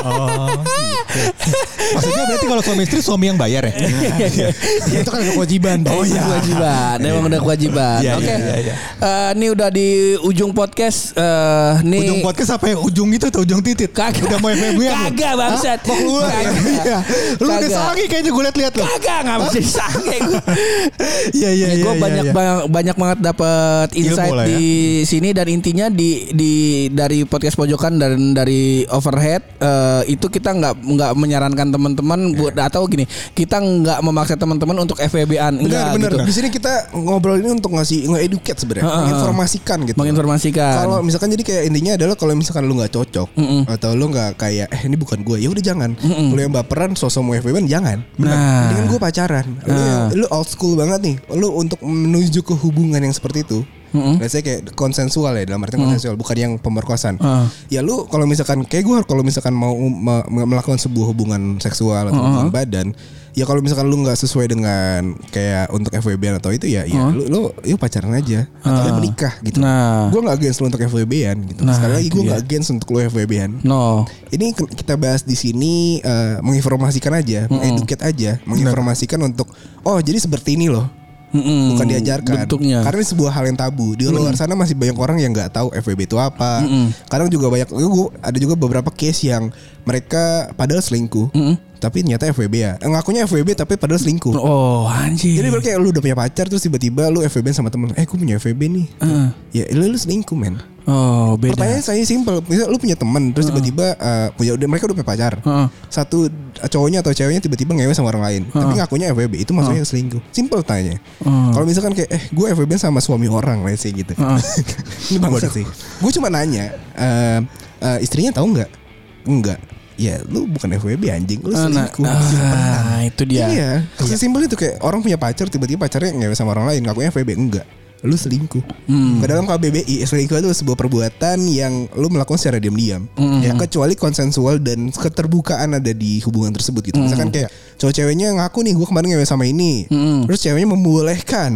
Oh, gitu.
Maksudnya berarti kalau suami istri suami yang bayar ya?
Iya, Ya,
itu kan ada kewajiban.
Oh,
Bang.
iya.
[laughs]
kewajiban, Oh, iya. emang udah kewajiban.
Iya, iya,
Oke,
iya, iya.
Eh, ini udah di ujung podcast. eh, nih
Ujung podcast apa ya? Ujung itu tuh ujung titit.
Kagak.
Udah
[laughs]
mau FB ya?
Kagak, bangsat.
Mau keluar. ya?
Kagak.
Iya. Lu udah
Kagak.
sangi kayaknya gue liat-liat loh.
kagak nggak mesti sange gue.
Iya iya iya.
gue
iya,
banyak
iya.
bang- banyak banget dapat insight
lah ya.
di sini dan intinya di di dari podcast pojokan dan dari overhead eh, itu kita nggak nggak menyarankan teman-teman
Iya.
buat atau gini kita nggak memaksa teman-teman untuk FVB-an enggak
Benar benar.
gitu.
Di sini kita ngobrol ini untuk ngasih nge-educate sebenarnya,
Heeh.
menginformasikan gitu.
Menginformasikan.
Kalau misalkan jadi kayak intinya adalah kalau misalkan lu nggak cocok atau lu nggak kayak eh ini bukan gue, ya udah jangan. Lu yang baperan sosok mau FBN jangan.
Nah.
Dengan gue pacaran. Lu, yang- lu old school banget nih. Lu untuk menuju ke hubungan yang seperti itu. Biasanya kayak konsensual ya dalam artian konsensual bukan yang pemerkosaan.
Heeh.
Ya lu kalau misalkan kayak gue kalau misalkan mau um, me- me- melakukan sebuah hubungan seksual
Uh-huh.
atau hubungan badan, ya kalau misalkan lu nggak sesuai dengan kayak untuk FWB atau itu ya, ya lu lu yuk pacaran aja atau lu menikah gitu.
Uh-huh. Nah.
Gue nggak against lu untuk FWB-an gitu.
Nah,
Sekali lagi
itu
gue
dia.
nggak against untuk lu FWB-an.
No.
Ini ke- kita bahas di sini eh, menginformasikan aja, mengeduket aja, menginformasikan untuk oh jadi seperti ini loh.
Mm-mm.
Bukan diajarkan.
Hmm, Bentuknya. Hmm.
Karena ini sebuah hal yang tabu. Di luar sana masih banyak orang yang nggak tahu FWB itu apa. Kadang juga banyak gua- ada juga beberapa case yang mereka padahal selingkuh. Tapi ternyata FWB ya. Eh, Ngakunya FWB tapi padahal selingkuh.
Hmm. Oh anjir.
Jadi berarti kayak lu udah punya pacar terus tiba-tiba lu FWB sama temen Eh gue punya FWB nih Ya lu, lu selingkuh men
Ah. oh beda. Hmm.
Pertanyaan saya simpel Misal lu punya temen Terus tiba-tiba eh, punya udah mereka udah punya pacar
Heeh.
Satu cowoknya atau ceweknya tiba-tiba ngewe sama orang lain Tapi
Hmm.
ngakunya FWB Itu maksudnya selingkuh Simpel tanya Kalau misalkan kayak Eh gue FWB sama suami orang lah sih gitu
Hmm.
[laughs]
Ah,
Ini bangsa sih Gue cuma nanya eh, eh, Istrinya tahu nggak? Enggak Ya lu bukan FWB anjing Lu
Ah, nah,
selingkuh
ah, itu dia.
Iya. Sesimpel itu kayak orang punya pacar tiba-tiba pacarnya ngewe sama orang lain, ngakunya FWB enggak. Lu selingkuh.
Hmm.
Ke dalam KBBI selingkuh itu sebuah perbuatan yang lu melakukan secara diam-diam.
Hmm.
Ya, kecuali konsensual dan keterbukaan ada di hubungan tersebut
Hmm.
gitu. Misalkan kayak cowok ceweknya ngaku nih gua kemarin ngewe sama ini.
Hmm.
Terus ceweknya membolehkan.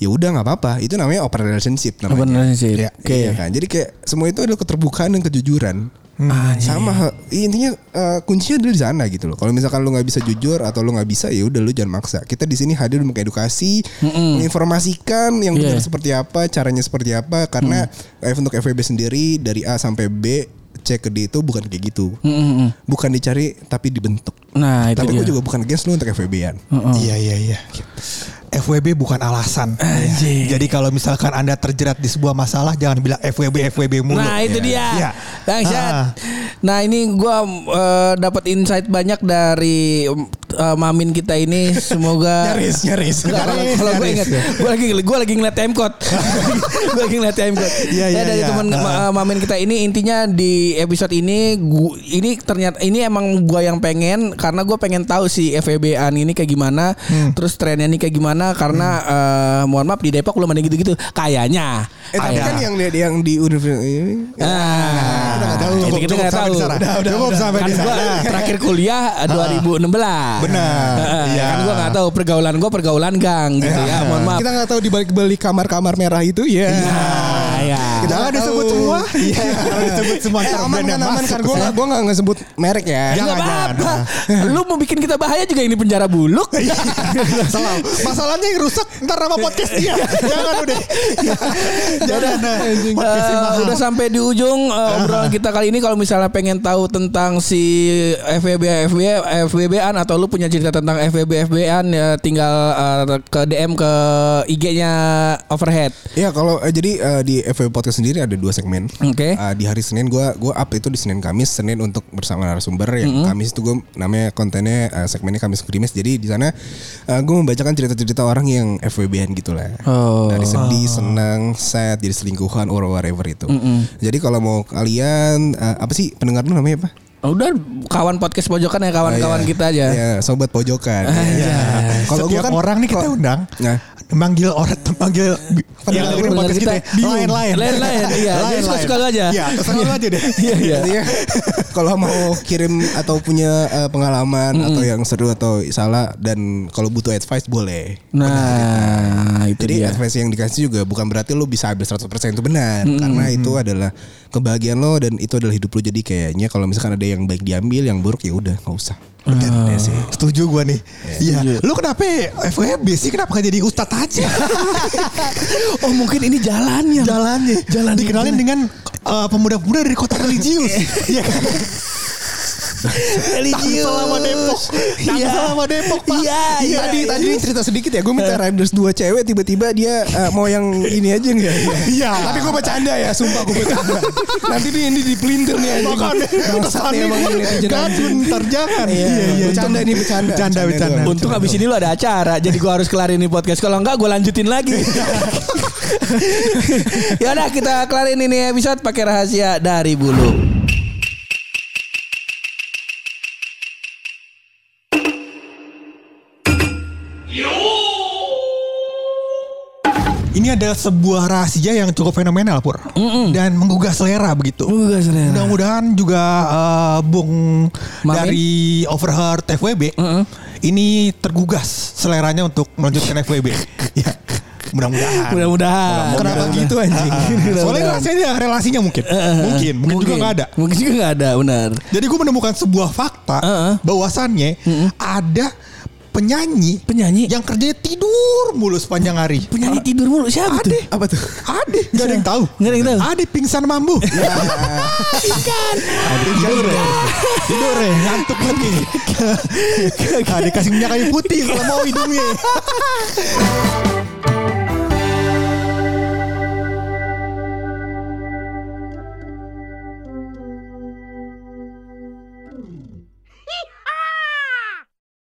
Ya udah nggak apa-apa. Itu namanya open relationship namanya.
Open relationship.
Ya,
Oke.
iya kan? Jadi kayak semua itu adalah keterbukaan dan kejujuran
Hmm.
Ah,
Iya.
sama intinya eh, kuncinya adalah di sana gitu loh. Kalau misalkan lu nggak bisa jujur atau lu nggak bisa ya udah lu jangan maksa. Kita di sini hadir untuk edukasi, menginformasikan yang
Iya.
benar
Mm.
seperti apa, caranya seperti apa karena eh, untuk FWB sendiri dari A sampai B C ke D itu bukan kayak gitu. Bukan dicari tapi dibentuk.
Nah itu dia.
tapi
Mm.
gue juga bukan against lu untuk FWB-an.
Oh.
Iya iya iya. FWB bukan alasan. Iya.
Anjing.
Jadi kalau misalkan Anda terjerat di sebuah masalah jangan bilang FWB FWB mulu.
Nah itu dia.
Iya.
Dahsyat.
Ah.
Nah ini gue dapat insight banyak dari em, eh, mamin kita ini. Semoga
[laughs] Nyaris, nyaris,
Enggak, kalau-
nyaris,
kalau gue
nyaris.
ingat, ya. gue lagi gue lagi ngeliat
[laughs]
timecode, gue lagi ngeliat timecode.
Iya,
ya
iya,
dari
iya.
teman
Ah.
mamin kita ini intinya di episode ini, gua, ini ternyata ini emang gue yang pengen karena gue pengen tahu si FEB-an ini kayak gimana,
Hmm.
terus trennya ini kayak gimana karena eh, mohon maaf di Depok belum ada gitu-gitu, kayaknya.
Eh tapi
Kayaknya.
kan yang di- yang di universitas
Ah,
Udah nggak
Kita, kita
tahu. Cukup, cukup
nggak
sampai
tahu.
di sana. Udah, udah,
Cukup
udah.
sampai
Kan
di
gua
sana. terakhir kuliah 2016.
Benar,
Heeh,
iya.
Kan gua nggak tahu pergaulan gua pergaulan gang gitu ya. Mohon maaf.
kita nggak tahu di balik balik kamar-kamar merah itu ya.
Nah, ya.
Kita
Jangan
nggak
disebut
tahu.
semua. [laughs] Iya. Jangan disebut semua.
Eh,
Ntar
aman
brand
kan
yang
aman
masuk.
kan [laughs] gue gak gue nggak ngesebut merek ya.
Jangan,
Nggak apa-apa.
jangan.
Lu mau bikin kita bahaya juga ini penjara buluk.
Iya, Salah. Masalahnya yang rusak ntar nama podcast dia. Jangan udah. Iya. Jangan.
Eh,
Podcastnya mahal.
udah sampai di ujung eh, obrolan kita kali ini kalau misalnya pengen tahu tentang si FWB FWB FWB-an atau lu punya cerita tentang FWB FWB-an ya tinggal eh, ke DM ke IG-nya Overhead.
Ya kalau eh, Iya, jadi eh, di FW Podcast itu sendiri ada dua segmen.
Oke.
Eh, di hari Senin gua gua up itu di Senin Kamis, Senin untuk bersama narasumber yang
Mm-hmm.
Kamis itu gua namanya kontennya eh, segmennya Kamis Krimis. Jadi di sana eh, gua membacakan cerita-cerita orang yang FWB-an gitulah. gitu
Oh.
Dari sedih, senang, sad, jadi selingkuhan or whatever itu. Jadi kalau mau kalian eh, apa sih pendengar lu namanya apa?
Udah kawan podcast pojokan ya kawan-kawan
Oh, iya.
kita aja.
Iya, sobat pojokan. Iya. Kalau
Kalau Eh,
gua
Setiap
kan
orang nih kita undang.
Nah.
Manggil orang manggil pendengar
Yang
dengerin
pendengar
podcast
kita
kita. ya.
bingung.
Lain-lain. [laughs]
Lain-lain, iya. Jadi suka-suka lu aja.
Iya, terserah lu aja deh.
Iya iya.
Iya. [laughs] kalau mau kirim atau punya eh, pengalaman atau yang seru atau salah dan kalau butuh advice boleh.
Nah, itu
Jadi
dia.
advice yang dikasih juga bukan berarti lo bisa ambil 100% itu benar karena itu adalah kebahagiaan lo dan itu adalah hidup lo jadi kayaknya kalau misalkan ada yang baik diambil yang buruk ya udah nggak usah. Benar sih.
Setuju gua nih. Iya. Lu kenapa FWB sih? Kenapa gak jadi ustad aja?
Oh, mungkin ini jalannya.
Jalannya. Jalan
Iya,
dikenalin dengan eh, pemuda-pemuda dari kota religius. [laughs] Iya. kan?
Religius.
Tangsel sama Depok.
Iya.
Tangsel sama Depok, Pak.
Iya, iya.
tadi tadi cerita sedikit ya gue minta Riders dua cewek tiba-tiba dia eh, mau yang ini aja enggak ya.
Iya.
Tapi gue bercanda ya, sumpah gue bercanda. Nanti nih ini dipelintir nih anjing.
Makanya
Bangsat nih
kesannya
emang ini netizen anjing.
gadun ntar jangan.
Iya, bercanda ini, bercanda.
Bercanda
Bercanda
bercanda.
doang.
Untung abis ini lu ada acara Jadi gua harus kelarin ini podcast Kalau enggak gua lanjutin [laughs] lagi Yaudah kita kelarin ini episode pakai rahasia dari bulu
Ini ada sebuah rahasia yang cukup fenomenal pur dan menggugah selera begitu.
Menggugah selera.
Mudah-mudahan juga eh, Bung
Mamin?
dari Overheard FWB ini tergugas seleranya untuk
[laughs]
melanjutkan FWB. ya. Mudah-mudahan.
Mudah-mudahan
Kenapa gitu anjing? Soalnya
[laughs] Mudah-mudahan.
rasanya relasinya mungkin. mungkin, mungkin juga nggak ada.
Mungkin juga nggak ada benar
Jadi gue menemukan sebuah fakta
Heeh.
bahwasannya ada penyanyi
Penyanyi?
yang kerjanya tidur mulu sepanjang hari.
Penyanyi tidur mulu siapa tuh?
Ade. Apa tuh? Ade. Gak ada yang tahu.
Nggak ada yang tahu. Ya.
Ade pingsan
[laughs]
mambu. tidur ya. Tidur ya. Ngantuk lagi.
[laughs]
Ade kasih minyak kayu putih kalau mau hidungnya.